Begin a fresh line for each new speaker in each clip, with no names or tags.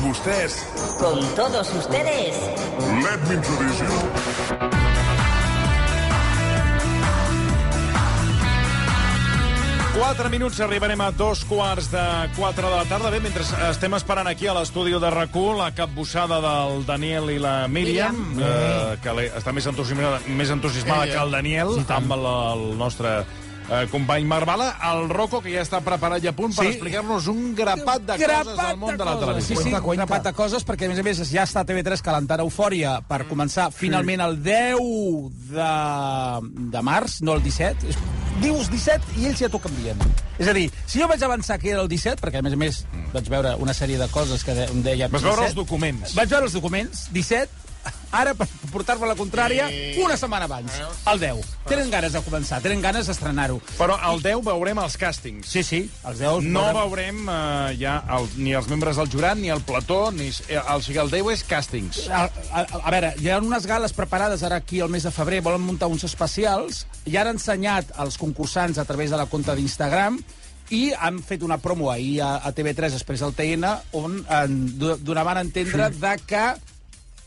vostès.
Con todos ustedes.
Let me introduce you.
Quatre minuts, arribarem a dos quarts de quatre de la tarda. Bé, mentre estem esperant aquí a l'estudi de rac la capbussada del Daniel i la Míriam, eh, que l'he- està més entusiasmada, més entusiasmada que el Daniel, amb el, el nostre eh, company Marvala, el Rocco, que ja està preparat i a punt per explicar-nos un grapat de coses del món de, la televisió.
Sí, sí, cuenta. grapat de coses, perquè, a més a més, ja està TV3 calentant eufòria
Mm.
per començar finalment el 10 de, de març, no el 17. És- Dius 17 i ells ja t'ho canvien. És a dir, si jo vaig avançar que era el 17, perquè, a més a més, vaig veure una sèrie de coses que de, em deia...
Mm. Vas veure els documents.
Vaig veure els documents, 17, ara, per portar-me la contrària, una setmana abans, el 10. Tenen ganes de començar, tenen ganes d'estrenar-ho.
Però el 10 veurem els càstings.
Sí, sí, els 10...
No veurem eh, ja el, ni els membres del jurat, ni el plató, ni... eh, El, o sigui, el 10 és càstings.
A, a, a veure, hi ha unes gales preparades ara aquí al mes de febrer, volen muntar uns especials, i han ensenyat als concursants a través de la compte d'Instagram i han fet una promo ahir a, a TV3 després del TN on en, do- donaven a entendre de que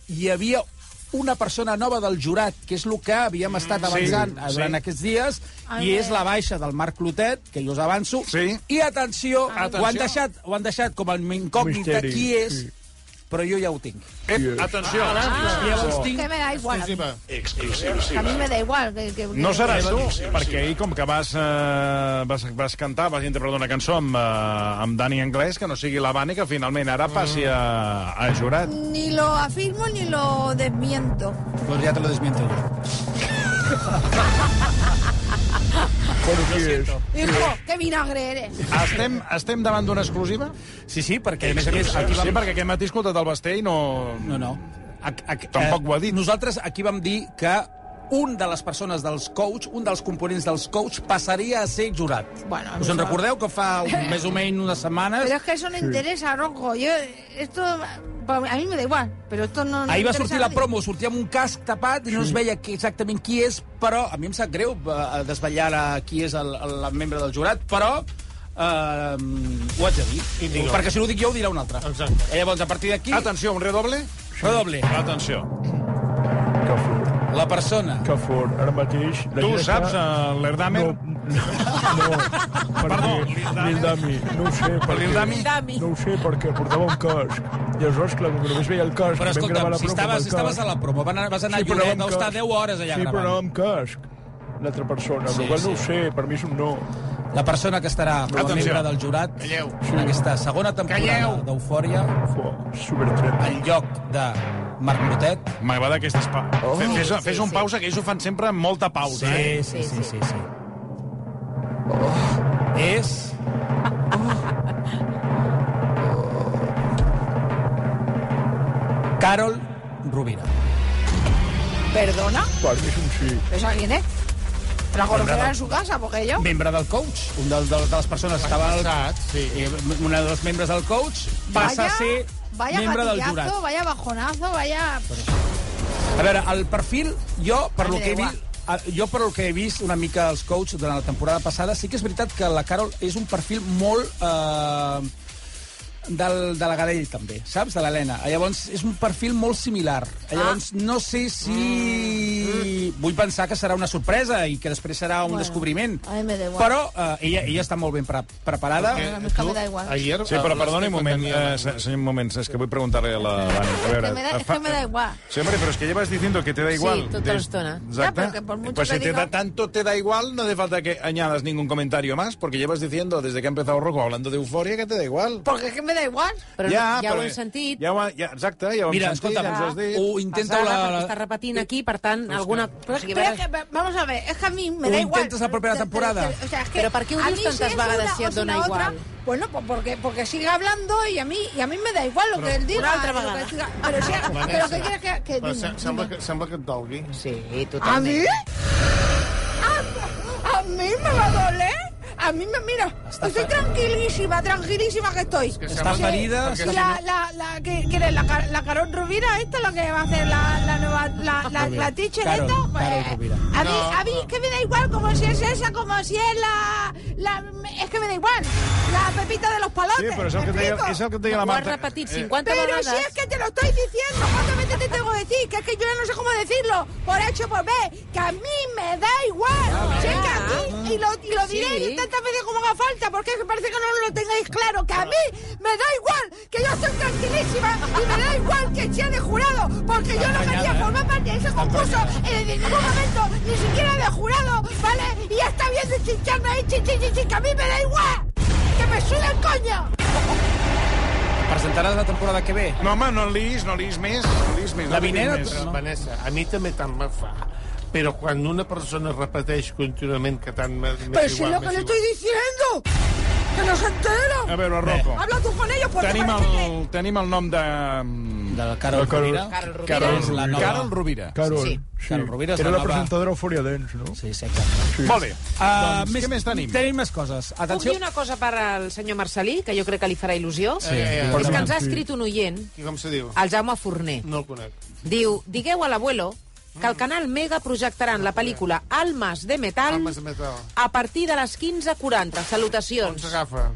hi havia una persona nova del jurat, que és el que havíem estat avançant sí,
sí.
durant aquests dies, i és la baixa del Marc Clotet, que jo us avanço,
Sí.
i atenció,
Atenció.
ho han deixat, ho han deixat com el incògnita
Misteri,
qui és, però jo ja ho tinc.
Ep, Eh, atenció!
Llavors tinc
Que me da igual. A mí me da igual. Que, que-
No
que-
seràs tu, perquè ahir com que vas, eh, vas, vas cantar, vas interpretar una cançó amb, eh, amb Dani Anglès, que no sigui la Bani, que finalment ara passi a, a jurat.
Ni lo afirmo ni lo desmiento.
Pues ya te lo desmiento yo.
Hijo, qué vinagre eres.
Estem, estem davant d'una exclusiva?
Sí, sí, perquè, a més a més, aquí
Sí,
vam...
perquè aquest matí he escoltat el Basté i no...
No, no. A, a,
Tampoc ho ha dit.
Nosaltres aquí vam dir que un de les persones dels coach, un dels components dels coach, passaria a ser jurat.
Bueno,
Us en
no.
recordeu que fa un, més o menys unes setmanes...
Pero es que eso no interesa, Rocco. Yo, esto, pa- a mí me da igual, pero esto no... no
Ahir va
interesa
sortir
a
la
nadie.
promo, sortia amb un casc tapat i no es veia qui, exactament qui és, però a mi em sap greu eh, desvetllar eh, qui és el, el, el membre del jurat, però eh, ho haig de dir. Perquè si no ho dic jo, ho dirà un altre. Exacte. Llavors, a partir d'aquí...
Atenció, un redoble?
Redoble.
Atenció.
Que fort,
La persona
que fort. Ara mateix... la
Tu
gent
saps
està-
eh, l'Erdamer?
No, no, no, perquè... Lil Dami. No ho sé, perquè...
Dami?
No ho sé, perquè portava un casc. I aleshores, clar, com que només veia el casc...
Però
vam
escolta'm,
gravar la
si
promo amb
estaves,
el
si estaves
casc.
a la promo, van anar, vas anar
Sí,
sí,
però
Lloret,
anava amb
deu estar
casc.
10 hores allà
sí,
gravant.
però anava amb casc, l'altra persona.
Sí,
Sí, qual,
sí.
No ho sé, per mi és un no.
La persona que estarà com a
Atenció.
membre del jurat
Calleu.
en aquesta segona temporada
Calleu.
d'Eufòria,
Fua, supertret.
en lloc de Marc Motet...
M'agrada aquesta espa. Oh, fes, fes un pausa, que ells ho fan sempre amb molta pausa. Eh?
sí, sí, sí. sí. És... Carol Rovira.
¿Perdona?
Per mi és un sí.
¿Eso quién es? ¿La conocerá en su casa? Porque yo...
membre del coach, un del, de, de les persones que estava al CAT, sí. una de les membres del coach, passa a ser
vaya
membre del
gatillazo,
jurat.
Vaya bajonazo, vaya...
A veure, el perfil, jo, per
A mi
lo que he
da
vist, Ah, jo, per el que he vist una mica els coach durant la temporada passada, sí que és veritat que la Carol és un perfil molt... Eh, del, de la Gadell, també, saps? De l'Helena. Ah, Llavors, és un perfil molt similar. Ah. Llavors, no sé si... Mm. Vull pensar que serà una sorpresa i que després serà un
Bueno,
descobriment.
a mi me da igual.
Però eh, ella, ella està molt ben pre preparada.
A mí es que me da igual.
Ayer,
Sí, però perdoni un moment, eh, se- senyor, un moment, és que vull preguntar-li a la Dani. A veure,
que me da- es
fa-
que me da igual. tota
Sí, hombre, pero es que llevas diciendo que te da igual.
Sí, toda la estona.
Ya,
Exacto.
pero que por mucho
pues
que
si te
diga-
da tanto te da igual, no hace falta que añadas ningún comentario más, porque llevas diciendo desde que ha empezado Rocco hablando de euforia que te da igual.
Porque es que me da igual.
Però ja, ja ho hem sentit.
Ja, ho ha- ja, exacte, ja ho hem
Mira,
sentit,
escolta'm,
ja ens ho has dit.
ho
Intenta
intenta
la...
la...
Perquè està
la...
repetint aquí, per tant, alguna...
Pero es que, espera, que va- vamos a ver, es que a mí me
Lo
da igual.
intentas la propia
Pero-
temporada.
pero- o sea, es que
Pero ¿para qué
a
unís
mí si
tantas
es
vagas
una
haciendo
o si
una
otra,
igual?
Bueno, pues porque, porque sigue hablando y a mí, y a mí me da igual lo que él diga.
una otra
y lo que
vagada.
diga. Pero, si, pero ¿qué quieres que, que
Però
dime?
se- sembla, que, sembla que et dolgui.
Sí,
¿A mí?
totalment.
¿A, a mí me va a doler? A mí me, mira, estoy tranquilísima, tranquilísima que estoy.
Estàs ferida,
Y la, la, la, ¿qué, qué eres? La, Car- la Carol Rubira, ¿esta es la que va a hacer la, la nueva, la, la, la teacher
Carol,
esta?
Carol Rovira.
a mí, a mí es que me da igual como si es esa, como si es la, la, es que me da igual. La pepita de los palotes.
Sí, però és el que et
¿me
deia,
explico?
és el que et
Ho
deia la
has
Marta.
repetit
Eh,
50
Pero si
vegades.
es que te lo estoy diciendo, ¿cuántas veces te tengo que decir? Que es que yo ya no sé cómo decirlo, por hecho, por B, que a mí me da igual. Si es que a mí, y lo, y lo diré
Sí.
y tantas veces como haga falta, porque es que parece que no lo tengáis claro, que a mí me da igual, que yo estoy tranquilísima y me da igual que sea de jurado, porque yo no quería formar parte de ese concurso en ningún momento, ni siquiera de jurado, ¿vale? Y ya está bien de chincharme ahí, chin, chin, chin, chin, que a mí me da igual, que me suda el coño.
Presentaràs la temporada que ve?
No, home, no liis, no liis més. No liis més.
La vinera,
No. liis
no?
més.
Vanessa, a mi també tant me fa. Però quan una persona repeteix contínuament que tant m'és igual...
Pero si es lo que
m'és
le
igual.
estoy diciendo, que no se enteran.
A veure, Rocco.
Habla tú con ellos porque
Tenim
parece que...
el, tenim el nom de...
De la Carol Rovira?
Carol Rovira.
Carol,
És la nova-
Carol Rovira.
Carol,
Sí.
sí.
Carol Rovira és
Era
la
la
nova-
presentadora Euphoria Dance, no?
Sí, sí, exacte.
Molt bé.
Uh,
Doncs, què més tenim?
Tenim més coses.
Puc
Atenció.
dir una cosa per al senyor Marcelí, que jo crec que li farà il·lusió?
Sí.
És que ens ha escrit un oient,
I com se diu?
el Jaume Forner.
No el conec.
Diu, digueu a l'abuelo que el canal Mega projectaran la pel·lícula Almas de Metal
Almas de Metal. Doncs
a partir de les 15.40.
On
Salutacions.
s'agafa?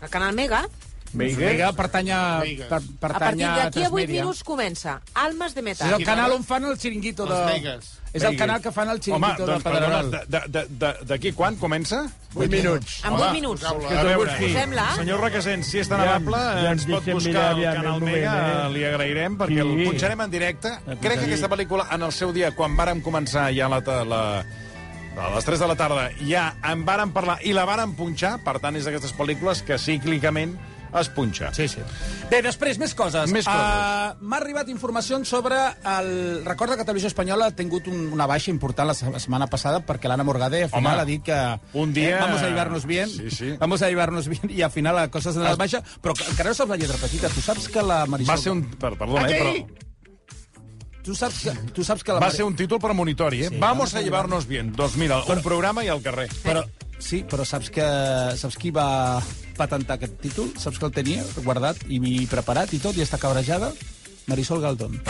El canal Mega,
Meiga pertany a...
Vegas.
Per,
a partir
pertany
d'aquí a 8
Transmedia.
minuts comença Almas de
És
Metal.
el canal on fan el xiringuito de...
Las Vegas.
És el canal que fan el
Home,
xiringuito
doncs,
de Pedrerol.
perdona, de- de- de- d'aquí quan comença?
8 minuts.
En 8 minuts.
A veure,
Posem-la.
senyor Requesens, si és tan
Ja em-
amable,
ja em
ens pot
deixem
buscar
mirar,
el
aviam,
Canal
un moment,
Mega,
eh?
li agrairem, perquè
Sí.
el punxarem en directe. Crec que aquesta pel·lícula, en el seu dia, quan vàrem començar ja la, ta- la, a les 3 de la tarda, ja en vàrem parlar i la vàrem punxar, per tant, és d'aquestes pel·lícules que cíclicament es punxa.
Sí, sí. Bé, després, més coses.
Més coses.
Uh, M'ha arribat informació sobre el... Recorda que Televisió Espanyola ha tingut un, una baixa important la, se- la setmana passada perquè l'Anna Morgade al
Home,
final ha dit que...
un dia-
Eh, vamos a llevarnos bien.
Sí, sí.
Vamos a llevarnos bien. I al final la cosa s'ha anat baixa. Però que- encara no saps la lletra petita. Tu saps que la Marisol...
Va ser un... Per, perdona, eh, però...
Tu saps que, tu saps que la
Va
Mari-
ser un títol premonitori, eh? Sí, Vamos a llevarnos bien. Doncs mira, un programa i al carrer. Doncs
Però, sí, però saps que saps qui va patentar aquest títol? Saps que el tenia guardat i, i preparat i tot, i està cabrejada? Marisol Galdón.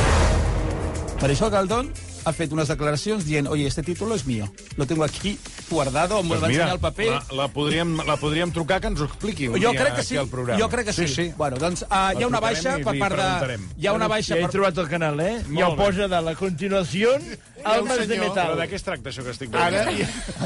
Marisol Galdón ha fet unes declaracions dient oye, este título es mío, lo tengo aquí guardado, me lo va ensenyar el paper...
La, la, podríem, la podríem trucar que ens ho expliqui un
Jo
dia
crec que
aquí
sí.
al programa.
Jo crec que sí.
sí, sí.
Bueno, doncs uh, hi ha
trucarem
una baixa
i
per
li
part de...
preguntarem.
Hi ha una baixa
Ja he
per...
trobat el canal, eh? I el
bé.
posa de la continuació, Almas de
senyor,
Però
Metal.
de què es tracta això que estic veient?
Ara,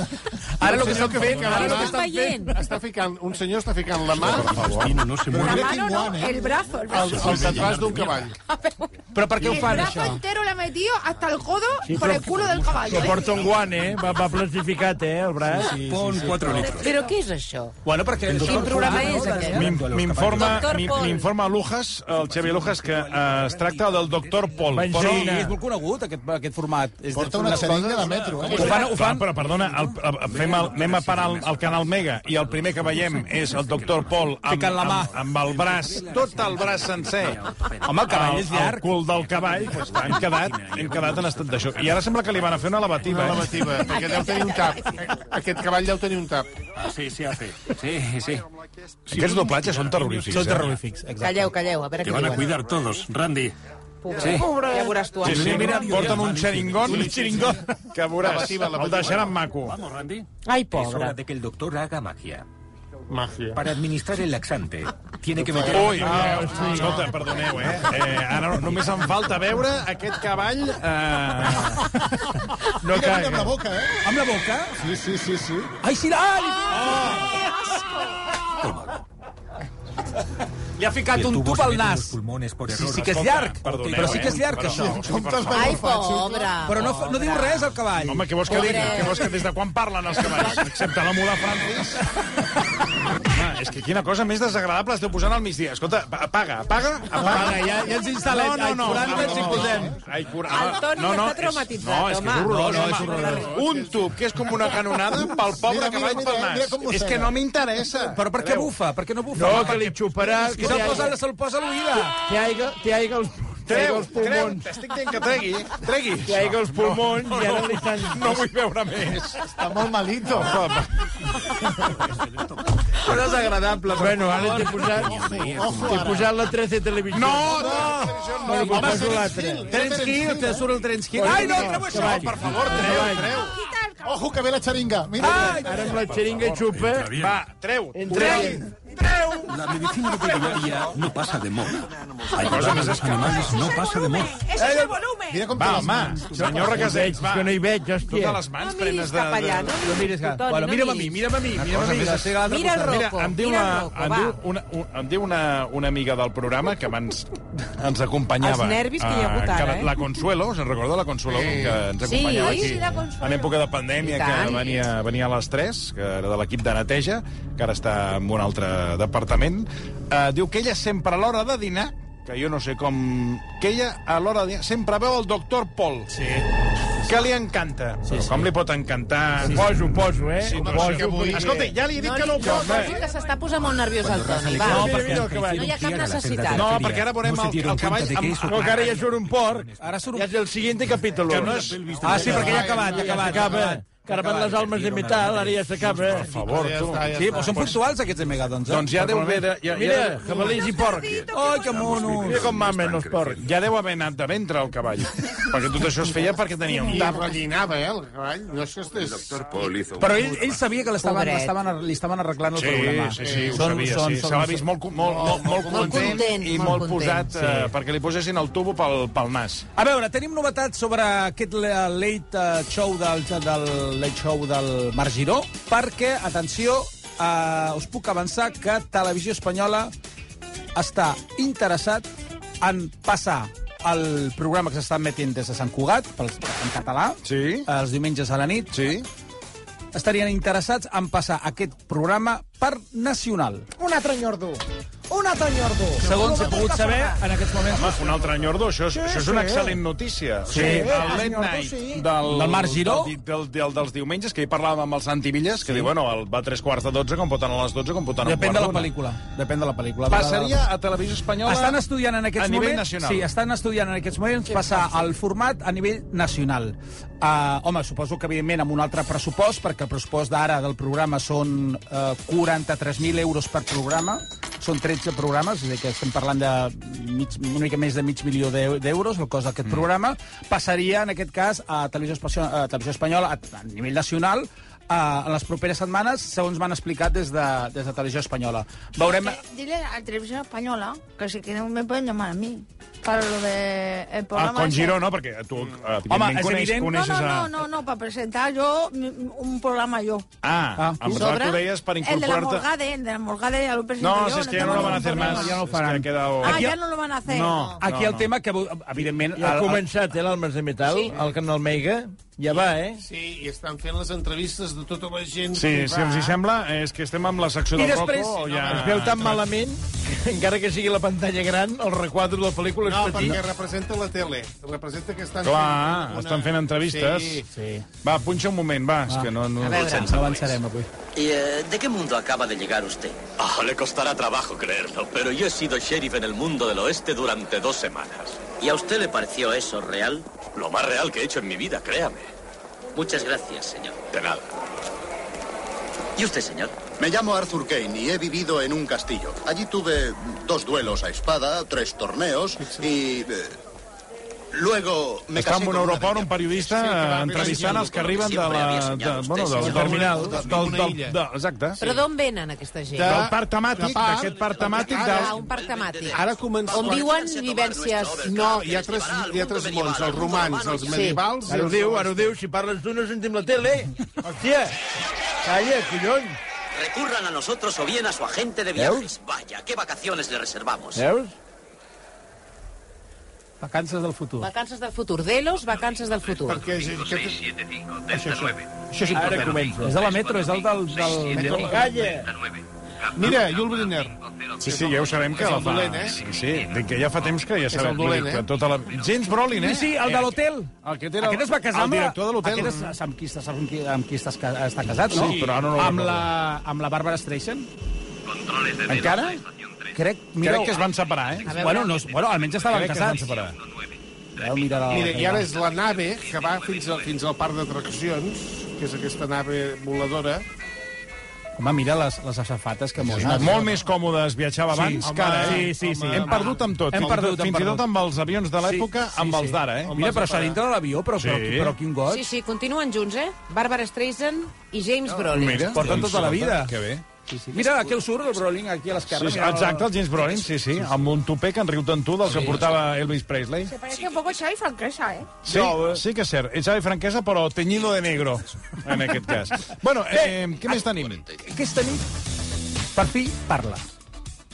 Ara
el que estan fent...
Ara
la
el que
mà-
estan veient.
Està ficant, un senyor està ficant la mà
La mano no, el brazo, el
al,
brazo.
al tatras d'un cavall.
Però per què ho
El
fan,
brazo
això?
entero le he metido hasta el codo por el culo del caballo.
Però
¿eh?
porta un guant, eh? Va, va plastificat, eh, el braç. Sí,
Pon 4 litres.
Però què és això?
Bueno, perquè...
Quin programa és aquest? eh?
M'in- M'informa
Doctor
m'in-
Paul.
m'informa Lujas, el Xavier Lujas, que eh, es tracta del doctor Pol.
Benzina.
Però,
Sí, és molt conegut, aquest, aquest format. És
Porta una seringa de metro, eh?
Ho fan, ho
Clar,
fan,
però perdona, el, el, el- fem el, anem a parar al, al canal Mega i el primer que veiem és el doctor Pol amb,
Ficant la mà.
amb, amb el braç, tot el braç sencer.
Home, el cavall és
El
llarg.
cul del cavall, doncs, han, quedat, hem quedat en estat d'això. I ara sembla que li van a fer una lavativa.
La
Eh?
bativa, perquè deu tenir un tap. Aquest cavall deu tenir un tap.
Sí, sí, hace. Sí, sí.
Aquests doblatges són terrorífics.
Són
eh?
terrorífics, exacte.
Calleu, calleu, a veure
Te
què
van a
diuen.
cuidar todos, Randy.
Pobre. Ja veuràs tu.
Sí,
ara.
sí, mira, porten un xeringon, un xeringon que veuràs,
Lavativa, lavativa.
el deixaran maco.
Vamos, Randy.
Ai,
Es hora
pobre.
de que el doctor haga magia.
Màgia.
Para administrar el laxante, tiene que meter...
Ui, ah, escolta, perdoneu, eh? eh ara no- només em falta veure aquest cavall... Eh... No
Mira, amb la boca, eh?
Amb la boca?
Sí, sí, sí, sí.
Ai, sí, ah, li, li ha ficat
El
un
tubo
tub
se
al
mete en
nas.
los pulmones por
Sí,
error.
sí que és llarg,
Perdoneu,
però sí que és llarg,
eh?
això.
Perdó, sí,
Comptes
perdó.
per
Ai,
no fa, xicle.
pobre.
Però no, fa- no diu res, el cavall.
Home, què vols que digui?
Pobre.
Què vols que des de quan parlen els cavalls? Excepte la mula Francis. Home, és que quina cosa més desagradable esteu posant al migdia. Instal·lem. Escolta, apaga, apaga, apaga.
ja, ja ens instal·lem.
No, no, no.
Ai, 40 ens hi posem.
Ai, cura. Ah,
El Toni
no, no,
està traumatitzat,
és, no, és que és
home.
horrorós,
No, no, és
home.
horrorós.
Un tub, que és com una canonada, pel pobre
Mira, mira,
cavall
mira,
pel
mira com
nas.
mossega.
És que no m'interessa.
Però per què bufa? Per què no bufa?
No, que li xuparà... Que
Oh, Que
te
se'l posa,
haiga,
se'l posa a l'oïda.
te haiga, te haiga els, te haiga
Treu,
els
treu,
pulmons.
t'estic dient que tregui, eh? tregui.
Te haiga els pulmons i ara li estan...
No vull veure més.
Està molt malito.
Però desagradable.
Bueno, ara t'he posat... T'he posat la 13 televisió.
No, no.
Bueno, però poso l'altra.
Terence Hill, te surt el Terence Hill. Ai, no, treu això, per favor.
Quita el
Ojo, que ve la xeringa. Mira,
Ara amb la xeringa i xupa...
Entra bien.
Va, treu.
Entrem.
La medicina veterinaria no pasa de moda.
Cosa
Ayudar a
més
los animales no pasa de moda.
¡Ese es el volumen!
mira com té
Va,
les
home,
mans.
senyor Requesens, va.
Que no hi veig, hòstia.
Totes les mans
No miris
plenes de...
cap allà,
de-
no
No miris,
miris
que...
tu, Toni,
Bueno,
no
mira'm a mi,
miris.
mira'm a mi. Mira'm a mi,
Cosa
que
més-
estic a l'altre
Mira el
costat.
Rocco,
Mira, em diu,
mira el
una,
Rocco,
em
va.
diu una, un, em diu una, una amiga del programa que abans ens acompanyava.
Els nervis que hi ha hagut
eh,
ara,
la-
eh?
La Consuelo, se'n recorda la Consuelo? Sí. Que ens
Sí,
acompanyava
sí,
aquí
la Consuelo.
en època de
I
pandèmia,
tant.
que venia, venia a les 3, que era de l'equip de neteja, que ara està en un altre departament. Eh, diu que ella sempre a l'hora de dinar, que jo no sé com... que ella a l'hora de dinar sempre veu el doctor Pol. Sí. Que li encanta. Sí, Però com li pot encantar... Sí,
Poso, poso, eh?
Sí, però sí que
poso,
vull-
poso.
Escolta, ja li he dit que no ho
No,
posa.
que s'està posant molt nerviós el Toni. Va,
No, perquè al principio
no hi ha cap necessitat.
No, perquè ara veurem el- el cavall amb-
No, que ara ja surt un porc. Ara surt un... Ja és el siguiente capítol.
Que no és-
Ah, sí, perquè ja ha acabat, ja ha acabat. Acaba. Que ara van les almes de metal, ara ja s'acaba.
Per favor,
Ja
tu.
està, ja
eh? Sí,
està.
però són puntuals, aquests de megatons, eh?
Doncs ja deu haver... de- Ja,
Mira,
ja,
cavalers i porc.
Ai, que
Mira
monos!
com mamen els porcs.
ja deu haver anat de ventre el cavall. perquè tot això es feia perquè tenia un
I
tap.
rellinava, eh, el cavall. No és que estés...
Però ell, ell sabia que l'estaven
Pobret.
l'estaven- li estaven arreglant el
Sí,
problema.
sí, sí, ho sabia. sí. Se l'ha vist molt, co- molt, molt, molt
Molt
content,
content,
i
molt
molt
content.
posat eh, perquè li posessin el tubo pel, pel nas.
A veure, tenim novetats sobre aquest la- late eh, show del, del late show del Marc Giró, perquè, atenció, eh, us puc avançar que Televisió Espanyola està interessat en passar el programa que s'està emetint des de Sant Cugat, pel, en català,
Sí.
els diumenges a la nit,
Sí?
estarien interessats en passar aquest programa per nacional.
Un altre ñordo. Un altre ñordo.
Segons he pogut saber, en aquests moments...
Home, un altre enyordo, això, és, això és una
sí.
excel·lent notícia.
Sí.
el
Ah,
late
enyordo,
night
sí.
del,
Del Marc Giró.
Del, del, del, dels diumenges, que hi parlàvem amb el Santi Villas, que diu, bueno, el, va a tres quarts de dotze, com pot anar a les dotze, com pot anar a un
Depèn de
quart
la
d'una.
pel·lícula. Depèn de la pel·lícula.
Passaria a Televisió Espanyola...
Estan estudiant en aquests
a nivell
moments...
nacional.
Sí, estan estudiant en aquests moments passar el format a nivell nacional. Uh, home, suposo que, evidentment, amb un altre pressupost, perquè el pressupost d'ara del programa són uh, 43.000 euros per programa, són 13 programes, és a dir, que estem parlant de mig, una mica més de mig milió d'eu- d'euros, el cost d'aquest mm. programa. Passaria, en aquest cas, a Televisió, Espanyola, a Televisió Espanyola a, a nivell nacional, uh, en les properes setmanes, segons m'han explicat des de, des de Televisió Espanyola. Veurem...
Eh,
Dile a la televisión española que si quieren me pueden llamar a mí para lo de el
Ah,
programa.
con
ese.
Giró, no? Perquè tu, eh,
Home,
evidentment,
és
coneix,
evident-
No,
coneixes
no, no,
a...
no, no, para presentar yo mm, un programa yo.
Ah,
Ah,
em pensava que ho deies per
el de la
incorporar-te...
Morgade, el de la Morgade ya lo presento
No,
yo.
si és que ja no
tengo
la van a
ningún
fer
problema.
més.
Ja no ho
és que
faran.
ha quedado...
Ah,
Aquí-
ya no lo van a hacer.
Oh.
No.
Aquí
No,
el
no.
tema que, evidentment...
Ja ha
el- el-
començat, eh, l'Almes de Metal,
Sí.
al Canal Meiga. Ja va, eh?
Sí, i estan fent les entrevistes de tota la gent
Sí,
que
si els hi sembla, és que estem amb la secció
I
del Rocco...
després
o ja...
es veu tan malament que encara que sigui la pantalla gran, el requadro de la pel·lícula
No,
és petit.
perquè representa la tele. Representa que estan
Clar, estan fent entrevistes.
Sí.
Sí.
Va, punxa un moment, va, és que no... no...
No avançarem avui.
¿Y eh, de qué mundo acaba de llegar usted?
Ah, le costará trabajo creerlo, pero yo he sido sheriff en el mundo del oeste durante dos semanas.
¿Y a usted le pareció eso real?
Lo más real que he hecho en mi vida, créame.
Muchas gracias, señor.
De nada.
¿Y usted, señor?
Me llamo Arthur Kane y he vivido en un castillo. Allí tuve mm, dos duelos a espada, tres torneos y... eh, luego me
Està
casé
en un
con una
aeroport un periodista
Sí, que va,
entrevistant
mira,
els que arriben de
siempre
la...
había
De,
soñado
bueno,
usted,
del
señor.
terminal.
Una
Del, del,
illa.
de, exacte.
Però d'on venen aquesta gent?
De-
Del parc temàtic,
de parc.
d'aquest parc temàtic del...
Ah, un parc temàtic.
Ara comença...
On viuen vivències...
No, hi ha tres, hi ha tres mons, els romans, els medievals... i
Ara ho
els-
diu, ara ho diu, si parles tu no sentim la tele. Hòstia, calla, collons.
Recurran a nosotros o bien a su agente de viajes. Vaya, qué vacaciones le reservamos.
Veus?
Vacances del futur.
Vacances del futur. Delos, vacances del futur.
Perquè aquest...
Això sí,
Ara comença.
és de la metro, és el del... del... metro.
Calla.
Mira, Yul Brynner.
Sí, sí, ja ho sabem que
És
la
el
fa...
dolent, eh?
Sí, sí, dic que ja fa temps que ja
el
sabem.
dolent,
vull dir que
eh?
tota la... James Brolin, eh?
Sí, sí, el de l'hotel.
Aquest era el-
Aquest es va casar
el
amb la-
director de l'hotel.
Aquest és amb qui, està- amb qui, amb qui estàs, ca- està casat, no?
Sí, però ara no ho
amb,
recordo.
la, amb la Bàrbara Streisand. Encara? Crec, mira,
Crec que es van separar, eh?
veure.
Bueno, no, bueno, almenys estaven
Crec que es van
casats.
separar.
Vau mirar
Ah,
la...
Mira, i ara és la nave que va fins al, fins al parc d'atraccions, que és aquesta nave voladora,
Home, mira les, les aixafates que
Sí,
monen.
molt més còmodes viatjava
Sí,
abans
home,
que ara, eh?
sí, sí, sí.
Hem perdut amb tot.
Hem
fins
perdut,
i tot-
hem
fins i tot
perdut.
amb els avions de l'època,
Sí, sí,
amb els
sí.
d'ara, eh?
Mira, però s'ha dintre de l'avió, però, però,
Sí.
però quin goig.
Sí, sí, continuen junts, eh? Bàrbara Streisand i James Brolin.
Mira,
Porten
doncs,
tota la vida.
Que bé.
Sí, sí. Mira, aquí us surt el Brolin, aquí a l'esquerra.
Sí, sí,
mira,
exacte, el James Brolin, sí, sí, amb un topé que en riu tant tu del que portava Elvis Presley.
Se parece un poco a Xavi Franquesa, ¿eh?
Sí, sí que és cert. Ets ave franquesa, però teñido de negro, en aquest cas. Bueno, eh, què més tenim?
Aquesta nit, per fi, parla.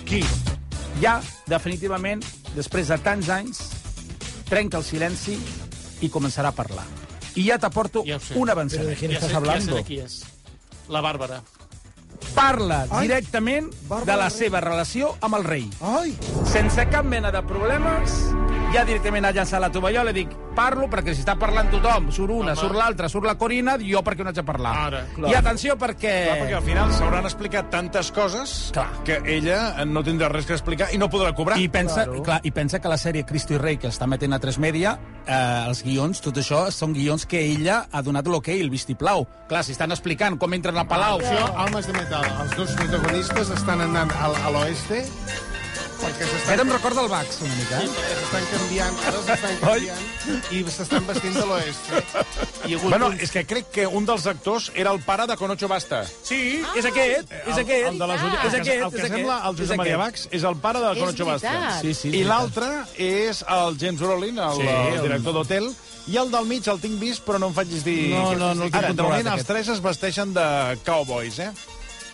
Qui? Ja, definitivament, després de tants anys, trenca el silenci i començarà a parlar. I ja t'aporto
Ja ho sé.
un avançament.
Ja sé- Ja sé de qui és. La Bàrbara.
Parla directament de la seva relació amb el rei.
Ah.
Ai. Sense cap mena de problemes, ja directament ha llançat la tovallola i dic, parlo perquè si està parlant tothom, surt una, surt l'altra, surt la Corina, jo per què no haig de parlar? Ara, I atenció perquè...
Clar, Ah, perquè al final s'hauran explicat tantes coses que ella no tindrà res que explicar i no podrà cobrar.
I pensa, claro. clar, I pensa que la sèrie Cristo i Rei, que està metent a 3 Media, eh, els guions, tot això, són guions que ella ha donat l'hoquei, el vistiplau. Clar, si estan explicant com entren a Palau...
Això, Homes de Metal. Els dos protagonistes estan anant al, a l'oeste perquè
Aquest em recorda el Bax, una mica.
Sí, perquè s'estan canviant, ara s'estan canviant i s'estan vestint de l'oeste. Hi ha hagut
Bueno,
un-
és que crec que un dels actors era el pare de Conocho Basta.
Sí, és aquest, és
El-
aquest.
Ah. El, de les ulleres.
És aquest,
el que
és aquest,
sembla el
és
Josep Maria
aquest.
Bax és el pare del
És
Conocho Bastos.
veritat. Sí, sí, és
I
veritat.
l'altre és el James Brolin, el,
Sí,
el
el-
director d'hotel, i el del mig el tinc vist, però no em facis dir...
No, no, no el tinc
Ara, de
controlat,
moment, els
aquest.
tres es vesteixen de cowboys, eh?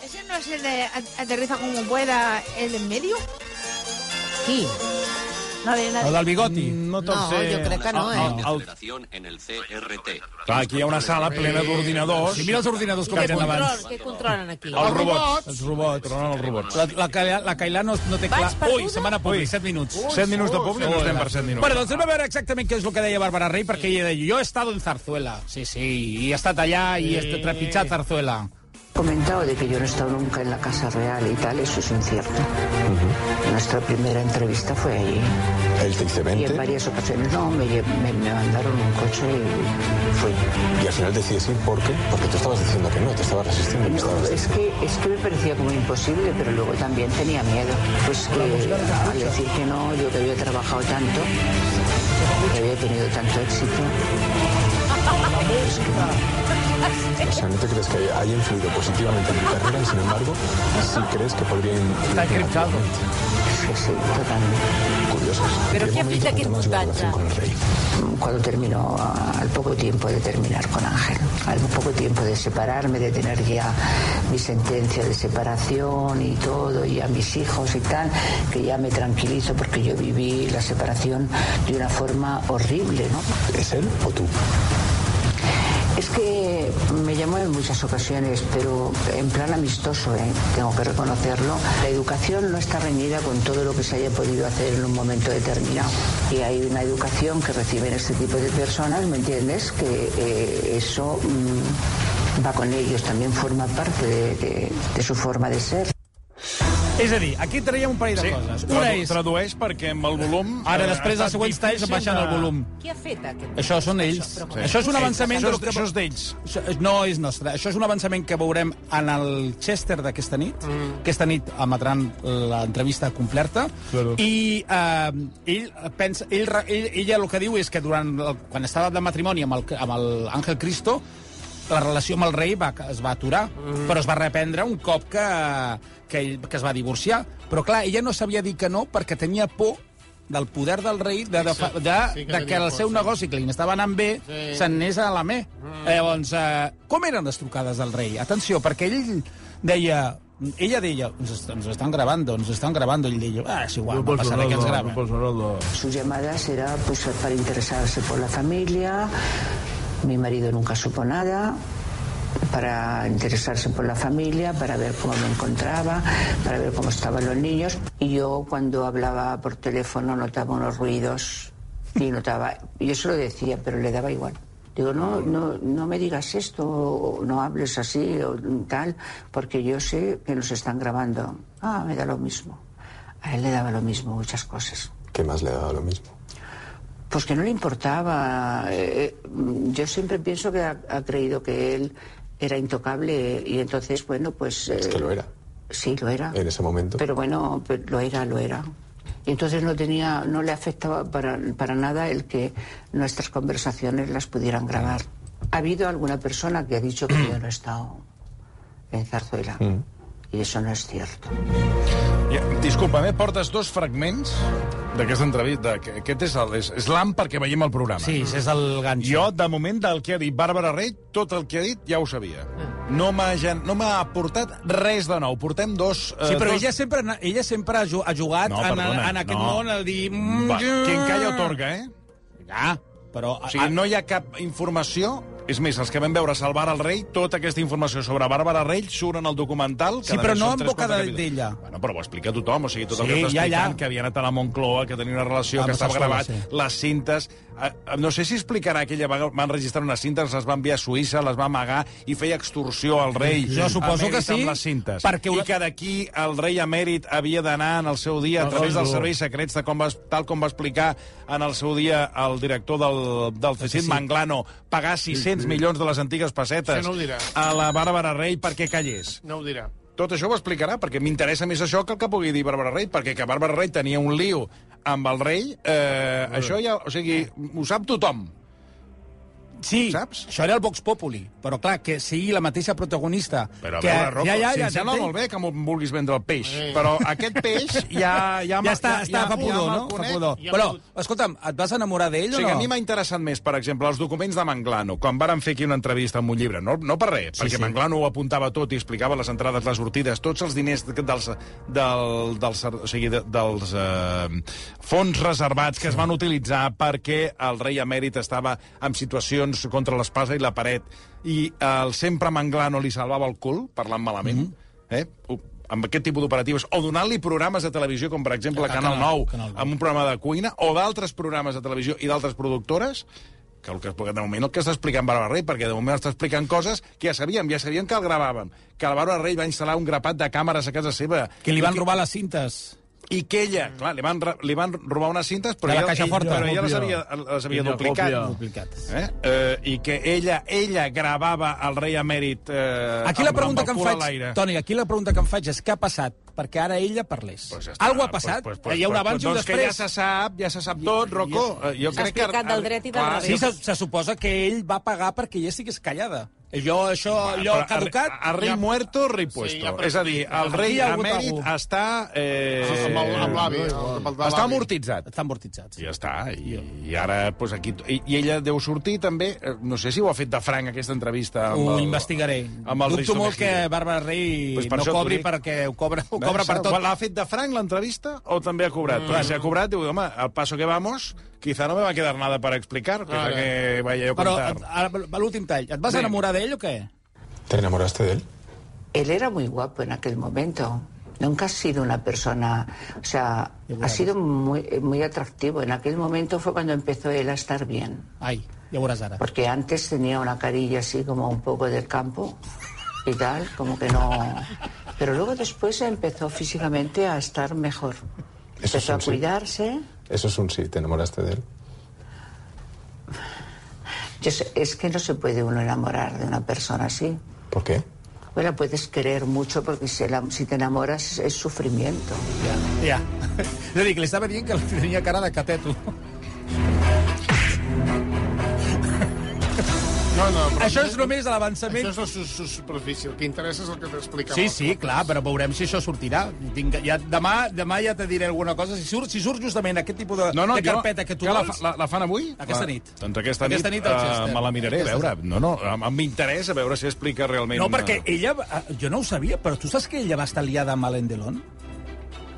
¿Ese no es el de a- aterriza como pueda el en medio?
Sí.
No, de,
El del bigoti. No
te'l No, sé. jo crec que no, eh.
El, el,
Aceleración en el CRT.
clar, aquí hi ha una sala plena d'ordinadors.
Sí, mira els ordinadors com
Que
eren
controlen-
abans.
Què controlen aquí?
Els robots.
Els robots. Però no els robots.
La, la, Cailà- la Cailà no, no té
Vaig
clar...
perduda?
Ui, se'n van a públic,
Ui.
7 minuts.
Ui, Set minuts de públic, no estem per set minuts.
Bueno, doncs anem a veure exactament què és el que deia Bàrbara Rey, perquè ella deia, jo he estat en Zarzuela. Sí, sí, i he estat allà i he trepitjat Zarzuela.
Comentado de que yo no he estado nunca en la Casa Real y tal, eso es incierto. Nuestra primera entrevista fue allí.
El
Y
tricemente.
en varias ocasiones, no, me, lle- me- me mandaron un coche y fui.
Y al final decides ir, ¿por qué? Porque tú estabas diciendo que no, te estabas resistiendo. te estabas-
Es que, es que me parecía como imposible, pero luego también tenía miedo. Pues que al decir que no, yo que había trabajado tanto, que había tenido tanto éxito.
O sea, ¿no te crees que haya influido positivamente en tu carrera y sin embargo sí crees que podría influir
Está encriptado. Sí,
pues,
sí, totalmente.
Curioso.
Pero ¿qué aplica que
con el rey?
Cuando terminó, a- al poco tiempo de terminar con Ángel, al poco tiempo de separarme, de tener ya mi sentencia de separación y todo, y a mis hijos y tal, que ya me tranquilizo porque yo viví la separación de una forma horrible, ¿no?
¿Es él o tú?
Es que me llamó en muchas ocasiones, pero en plan amistoso, ¿eh? tengo que reconocerlo. La educación no está reñida con todo lo que se haya podido hacer en un momento determinado. Y hay una educación que reciben este tipo de personas, ¿me entiendes? Que eh, eso mm, va con ellos, también forma parte de- de- de su forma de ser.
És a dir, aquí traiem un parell de coses. Una
Tradu-
és...
Tradueix perquè amb el volum...
Ara,
eh,
després,
ha
els
estat
següents talls em
difícil
baixen el
de-
volum.
Qui ha fet aquest?
Això són ells.
Això,
Sí.
però-
Això és un avançament...
Això és-
dels que-
això és d'ells.
Això és- No és nostre. Això és un avançament que veurem en el Chester d'aquesta nit. Mm. Aquesta nit emetran l'entrevista completa.
Claro.
I eh, ell pensa... Ell, re- ell, ella el que diu és que durant el, quan estava de matrimoni amb el, amb el Ángel Cristo la relació amb el rei va, es va aturar, mm. però es va reprendre un cop que, que, ell, que es va divorciar. Però, clar, ella no sabia dir que no perquè tenia por del poder del rei de, de, de, de,
sí que
de que
tenia
el
por,
seu
sí.
negoci, que li estava anant bé,
Sí.
s'anés a la me. Mm. Llavors, eh, com eren les trucades del rei? Atenció, perquè ell deia... Ella deia, ens, est- ens estan gravant, ens estan gravant, i ell deia, ah, és igual, no passa res que ens graven.
Sus llamadas era pues, para interesarse por la familia. Mi marido nunca supo nada. Para interesarse por la familia, para ver cómo me encontraba, para ver cómo estaban los niños. Y yo cuando hablaba por teléfono notaba unos ruidos y notaba. Yo se lo decía, pero le daba igual. Digo, no, no, no me digas esto, o no hables así o tal, porque yo sé que nos están grabando. Ah, me da lo mismo. A él le daba lo mismo muchas cosas.
¿Qué más le daba lo mismo?
Pues que no le importaba. Eh, eh, yo siempre pienso que ha, ha creído que él era intocable y entonces, bueno, pues...
Es que
eh,
lo era.
Sí, lo era.
En ese momento.
Pero bueno, pe- lo era, lo era. Y entonces no tenía, no le afectaba para, para nada el que nuestras conversaciones las pudieran grabar. Ha habido alguna persona que ha dicho que yo no he estado en Zarzuela.
Mm.
Y eso no es cierto.
Ja, Disculpa'm, eh? portes dos fragments d'aquesta entrevista. Aqu- Aquest és el- és, és l'AM perquè veiem el programa.
Sí, és el ganxo.
Jo, de moment, del que ha dit Bàrbara Rey, tot el que ha dit ja ho sabia.
Mm.
No m'ha gen- no m'ha aportat res de nou. Portem dos... eh,
Sí, però
dos...
ella sempre, ella sempre ha ju- ha jugat
No,
no, perdona, en,
perdona,
en aquest
no.
no. món, el dir... Mm,
Va,
jo-
quien calla otorga, eh?
Ja, però...
O sigui, no hi ha cap informació... És més, els que vam veure Salvar el rei, tota aquesta informació sobre Bàrbara Rey surt en el documental... que
Sí,
a
però
més
no
són
en
tres,
boca
quatre
de-
capítols.
d'ella.
Bueno, però ho explica tothom, o sigui, tot el
Sí,
que
ja,
està
ja. Ah,
explicant, que havia anat a la Moncloa, que tenia una relació,
Amb
que estava
Sarsuela,
gravat,
sí.
les cintes... Eh, eh, No sé si explicarà que ella va, van registrar unes cintes, les va enviar a Suïssa, les va amagar i feia extorsió al rei.
Jo suposo
emèrit
que sí,
Amb les cintes.
perquè
I
una-
que d'aquí el rei emèrit havia d'anar en el seu dia a
No,
través
no.
dels serveis secrets, de com va, tal com va explicar en el seu dia el director del, del
Sí,
CECIT,
sí.
Manglano, pagar 600 milions de les antigues pessetes
Això no ho dirà.
a la Bàrbara Rey perquè callés.
No ho dirà.
Tot això ho explicarà, perquè m'interessa més això que el que pugui dir Bàrbara Rey, perquè que Bàrbara Rey tenia un lío amb el rei, eh, això ja... O sigui, ho sap tothom.
Sí,
Saps?
això era el Vox Populi, però clar, que sigui la mateixa protagonista...
Però a
que,
veure, Rocco, ja, ja, ja, si em sembla
t'entenc.
molt bé que m'ho vulguis vendre el peix, però aquest peix ja... Ja,
ja està, ja, està ja, fa pudor,
me'l
no? Fa
conec.
pudor.
Ja
Però, escolta'm, et vas enamorar d'ell
O sigui,
o no?
a mi m'ha interessat més, per exemple, els documents de Manglano, quan varen fer aquí una entrevista amb un llibre. No, no per res,
Sí,
sí, perquè
sí.
sí. Manglano ho apuntava tot i explicava les entrades, les sortides, tots els diners que- dels, del, dels, o sigui, de- dels eh, fons reservats que es van utilitzar perquè el rei emèrit estava en situacions contra l'espasa i la paret i el sempre Manglano li salvava el cul, parlant malament, mm -hmm. eh? Ho- amb aquest tipus d'operatives, o donant-li programes de televisió, com per exemple
El
Canal
Canal
9,
Canal
amb un programa de cuina, o d'altres programes de televisió i d'altres productores, que el que explica de moment el que està explicant Bàrbara Rey, perquè de moment està explicant coses que ja sabíem, ja sabíem que el gravàvem, que la Bàrbara Rey va instal·lar un grapat de càmeres a casa seva.
Que li van
I
robar les cintes.
I que ella, clar, li van, ra- li van robar unes cintes, però
De la
ella,
caixa
ell-
forta.
però ella les havia,
Còpia.
les havia
Ella
duplicat.
còpia. Duplicats.
Eh? Eh, I que ella ella gravava el rei emèrit eh,
Aquí la
amb,
pregunta
amb
que
el
em
cul a
faig,
l'aire.
Toni, aquí la pregunta que em faig és què ha passat? Perquè ara ella parlés. Pues
ja està,
Algo ha passat?
Pues, pues,
Hi ha un
pues,
abans i un
doncs que
després.
ja se sap, ja se sap tot, Rocco. Eh, Jo
S'ha
crec que...
explicat del dret i del revés.
Sí, se, se suposa que ell va pagar perquè ella estigués callada. Jo, això, allò
Però
caducat...
A, a rei
ja-
muerto, rei puesto.
ja, però-
és a dir, el
Aquí
rei
hi ha hagut
emèrit
algú.
està... Eh,
Amb el- amb l'avi, el- pel de l'avi.
està amortitzat.
Està amortitzat.
Ja està. I, i ara, doncs, aquí... I, I ella deu sortir també... eh, No sé si ho ha fet de franc, aquesta entrevista. Amb
Ho
el,
investigaré.
Amb el
Dubto
Risto
molt que
Mejía.
Bàrbara Rei
Pues
pues
per
no
això t'ho
cobri
dic.
perquè ho cobra, ho cobra per tot.
¿L'ha fet de franc, l'entrevista, o també ha cobrat? Mm. Perquè si ha cobrat, diu, home, al paso que vamos, quizá no me va a quedar nada para explicar, quizá
Ara.
que vaya yo a
Però, eh,
contar.
a- a- a l'últim tall, et vas
Vinga.
enamorar d'ell o què?
¿Te enamoraste de él?
Él era muy guapo en aquel momento. Nunca ha sido una persona, o sea, ha sido muy, muy atractivo. En aquel momento fue cuando empezó él a estar bien.
Ai, ja ho veuràs ara.
Porque antes tenía una carilla así como un poco del campo y tal, como que no... Pero luego después empezó físicamente a estar mejor.
Eso es
Empezó a
un sí.
cuidarse.
Eso es un sí, te enamoraste de él.
Yo sé- es que no se puede uno enamorar de una persona así.
¿Por qué?
Pues la puedes querer mucho porque si, la- si te enamoras es sufrimiento.
Ja. És a dir, que li estava dient que tenia cara de cateto.
No, no, però...
Això és només l'avançament...
Això és la su su superfície. El que interessa és el que t'explicava.
Sí, sí, clar, però veurem si això sortirà. Tinc, ja, demà, demà ja te diré alguna cosa. Si surt, si surt justament aquest tipus de,
No, no,
de
jo-
carpeta que tu
que la
vols...
fa- la- la fan avui?
Aquesta
La-
nit.
Doncs aquesta nit,
Aquesta nit al
eh,
Chester.
me la miraré, a
Aquesta
veure.
nit.
No, no, amb- amb interès, a veure si explica realment...
No, perquè ella... va- eh, Jo no ho sabia, però tu saps que ella va estar liada amb Alain Delon?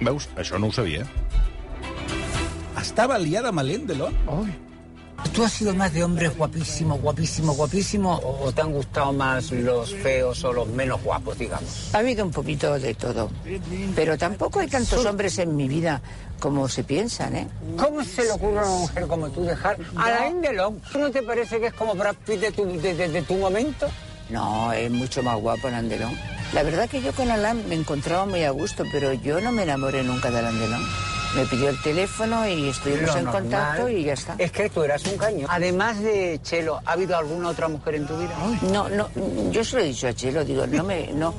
Veus? Això no ho sabia.
Estava liada amb Alain Delon?
¿Tú has sido más de hombres guapísimo, guapísimo, guapísimo o, o te han gustado más los feos o los menos guapos, digamos?
Ha habido un poquito de todo. Pero tampoco hay tantos hombres en mi vida como se piensan, ¿eh?
¿Cómo se le ocurre a una mujer como tú dejar a Alain Delon? ¿Tú no te parece que es como Brad Pitt de tu, de- de- de tu momento?
No, es mucho más guapo Alain Delon. La verdad que yo con Alain me encontraba muy a gusto, pero yo no me enamoré nunca de Alain Delon. Me pidió el teléfono y estuvimos
Lo
en
normal
contacto y ya está.
Es que tú eras un caño. Además de Chelo, ¿ha habido alguna otra mujer en tu vida?
No, no, yo se lo he dicho a Chelo, digo, no me, no,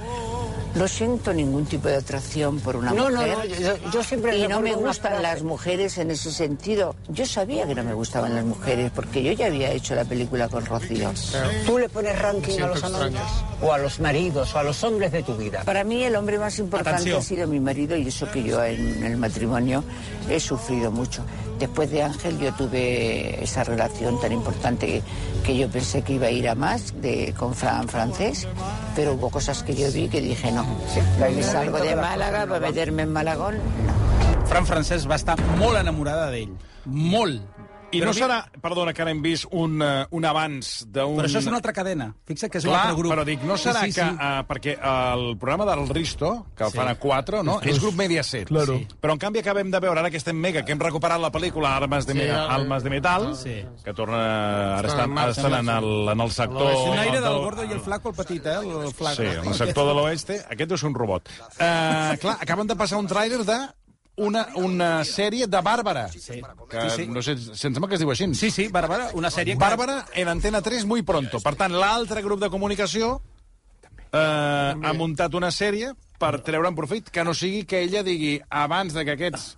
no siento ningún tipo de atracción por una
No, no,
mujer.
no, yo- yo siempre
Y no
recuerdo
me
una
gustan
frase.
las mujeres en ese sentido. Yo sabía que no me gustaban las mujeres porque yo ya había hecho la película con Rocío.
Tú le pones ranking a
Siempre
los amantes o a los maridos o a los hombres de tu vida.
Para mí el hombre más importante
Atención.
ha sido mi marido y eso que yo en el matrimonio he sufrido mucho. Después de Ángel yo tuve esa relación tan importante que yo pensé que iba a ir a más de, con Fran Francés, pero hubo cosas que yo vi que dije no. Me salgo de Málaga para meterme en Malagón.
Fran Francesc va estar molt enamorada d'ell. Molt.
I
Però
no
vi-
serà, perdona, que ara hem vist un, eh, un avanç d'un...
Però això és una altra cadena. Fixa't que és un
Clar,
altre grup.
però dic, no serà
Sí, sí,
que...
sí.
eh, perquè el programa del Risto, que el
Sí.
fan a 4, no?
Plus.
És grup Mediaset.
Claro.
Sí. Però, en canvi, acabem de veure, ara que estem mega, que hem recuperat la pel·lícula Armes de,
Sí,
mega,
el- Ah,
Almas de Metal,
Sí.
que torna... Ara
Està en
estan, ara
marxa,
estan en el, en el sector...
Un aire del
del-
gordo i el flaco, el petit, eh? El flaco.
Sí, en el sector de l'oeste, aquest és un robot. Uh, clar, acaben de passar un tràiler de una, una sèrie de Bàrbara. Sí. Que,
Sí, sí.
No sé, se'm sembla que es diu així.
Sí, sí, Bàrbara, una sèrie... que-
Bàrbara en Antena 3 muy pronto. Per tant, l'altre grup de comunicació eh, ha muntat una sèrie per treure'n profit, que no sigui que ella digui abans de que aquests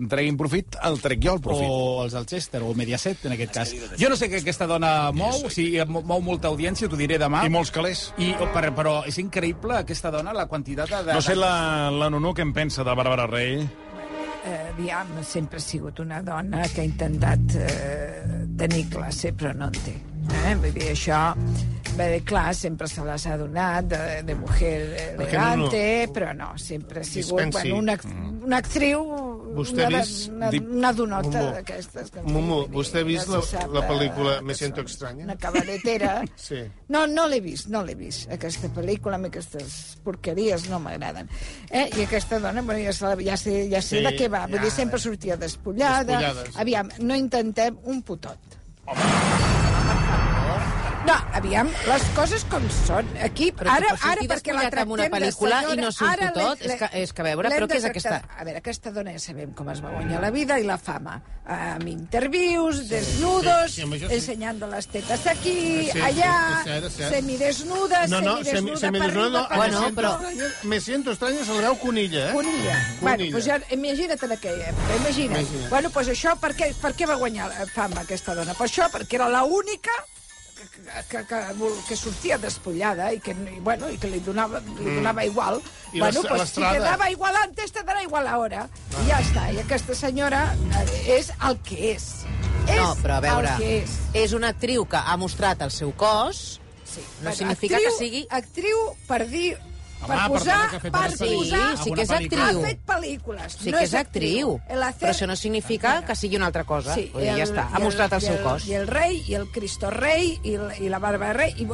en treguin profit, el trec jo el profit.
o els Alchester, o Mediaset, en aquest cas. Jo no sé què aquesta dona mou, si mo- mou molta audiència, t'ho diré demà.
I molts calés.
I, oh, per, però és increïble, aquesta dona, la quantitat de... de
No sé la, la Nunu què en pensa de Bàrbara Rey.
Eh, aviam, sempre ha sigut una dona que ha intentat eh, tenir classe, però no en té. Eh? Vull dir, això... Bé, clar, sempre se les ha donat de, de mujer
Perquè no, no.
elegante, no, no. però no, sempre ha sigut
Dispensi. Mm.
bueno, una, ac- una actriu,
Vostè ha
una,
vist
una,
Deep-
una donota
Mumu.
d'aquestes. que-
Mumu, vostè ha vist
ja
la,
se sap,
la
eh,
pel·lícula
que
Me
són
siento extraña?
Una cabaretera.
Sí.
No, no l'he vist, no l'he vist. Aquesta pel·lícula, a mi aquestes porqueries no m'agraden. Eh? I aquesta dona, bueno, ja, se la, ja sé, ja
Sí,
sé sí, de què va. Vull
ja.
dir,
eh.
sempre sortia despullada.
Despullada, sí.
Aviam, no intentem un putot. No, aviam, les coses com són. Aquí,
Però
ara,
que pot
ara
sortir
perquè la
despullat
tractem
amb una pel·lícula
de senyora,
i no surt
ara l'hem-
tot, és que- és que a veure,
l'hem
però
de
què és aquesta?
tractar- A veure, aquesta dona ja sabem com es va guanyar la vida i la fama. Amb interviews, desnudos,
sí, amb això sí.
ensenyando les tetes aquí,
Sí, sí,
allà,
és cert, és cert.
semidesnuda,
No, no, semi-
semidesnuda,
semidesnuda no,
per
bueno,
arriba,
però...
per abajo.
Me siento extraña, se la veu conilla, eh?
Conilla. Bueno, doncs ja, imagina't en aquella època, imagina't.
Imagina't.
Bueno, doncs això, per què, per què va guanyar eh, fama aquesta dona? Per això, perquè era l'única que, que, que, vol- que sortia despullada i que, no- i, bueno, i que li donava, li
Mm.
donava igual.
I
bueno,
l'est-
pues, si
l'estrada.
te dava igual antes, te darà igual ahora. I ja està. I aquesta senyora eh, és el que és. És
No, però a veure,
el que és.
és. és una actriu que ha mostrat el seu cos,
sí.
no
Bueno,
significa
actriu,
que sigui...
Actriu per dir...
Home,
Per
perdona,
posar,
que
per
ha fet
posar...
alguna pel·lícula. Sí, sí que és actriu.
Ha fet pel·lícules.
Sí
no
que és actriu,
El hacer...
però això no significa que sigui una altra cosa.
Sí,
Vull dir, ja està, ha mostrat el seu cos.
I el rei, i el Cristo rei, i, el, i la barba de rei... I...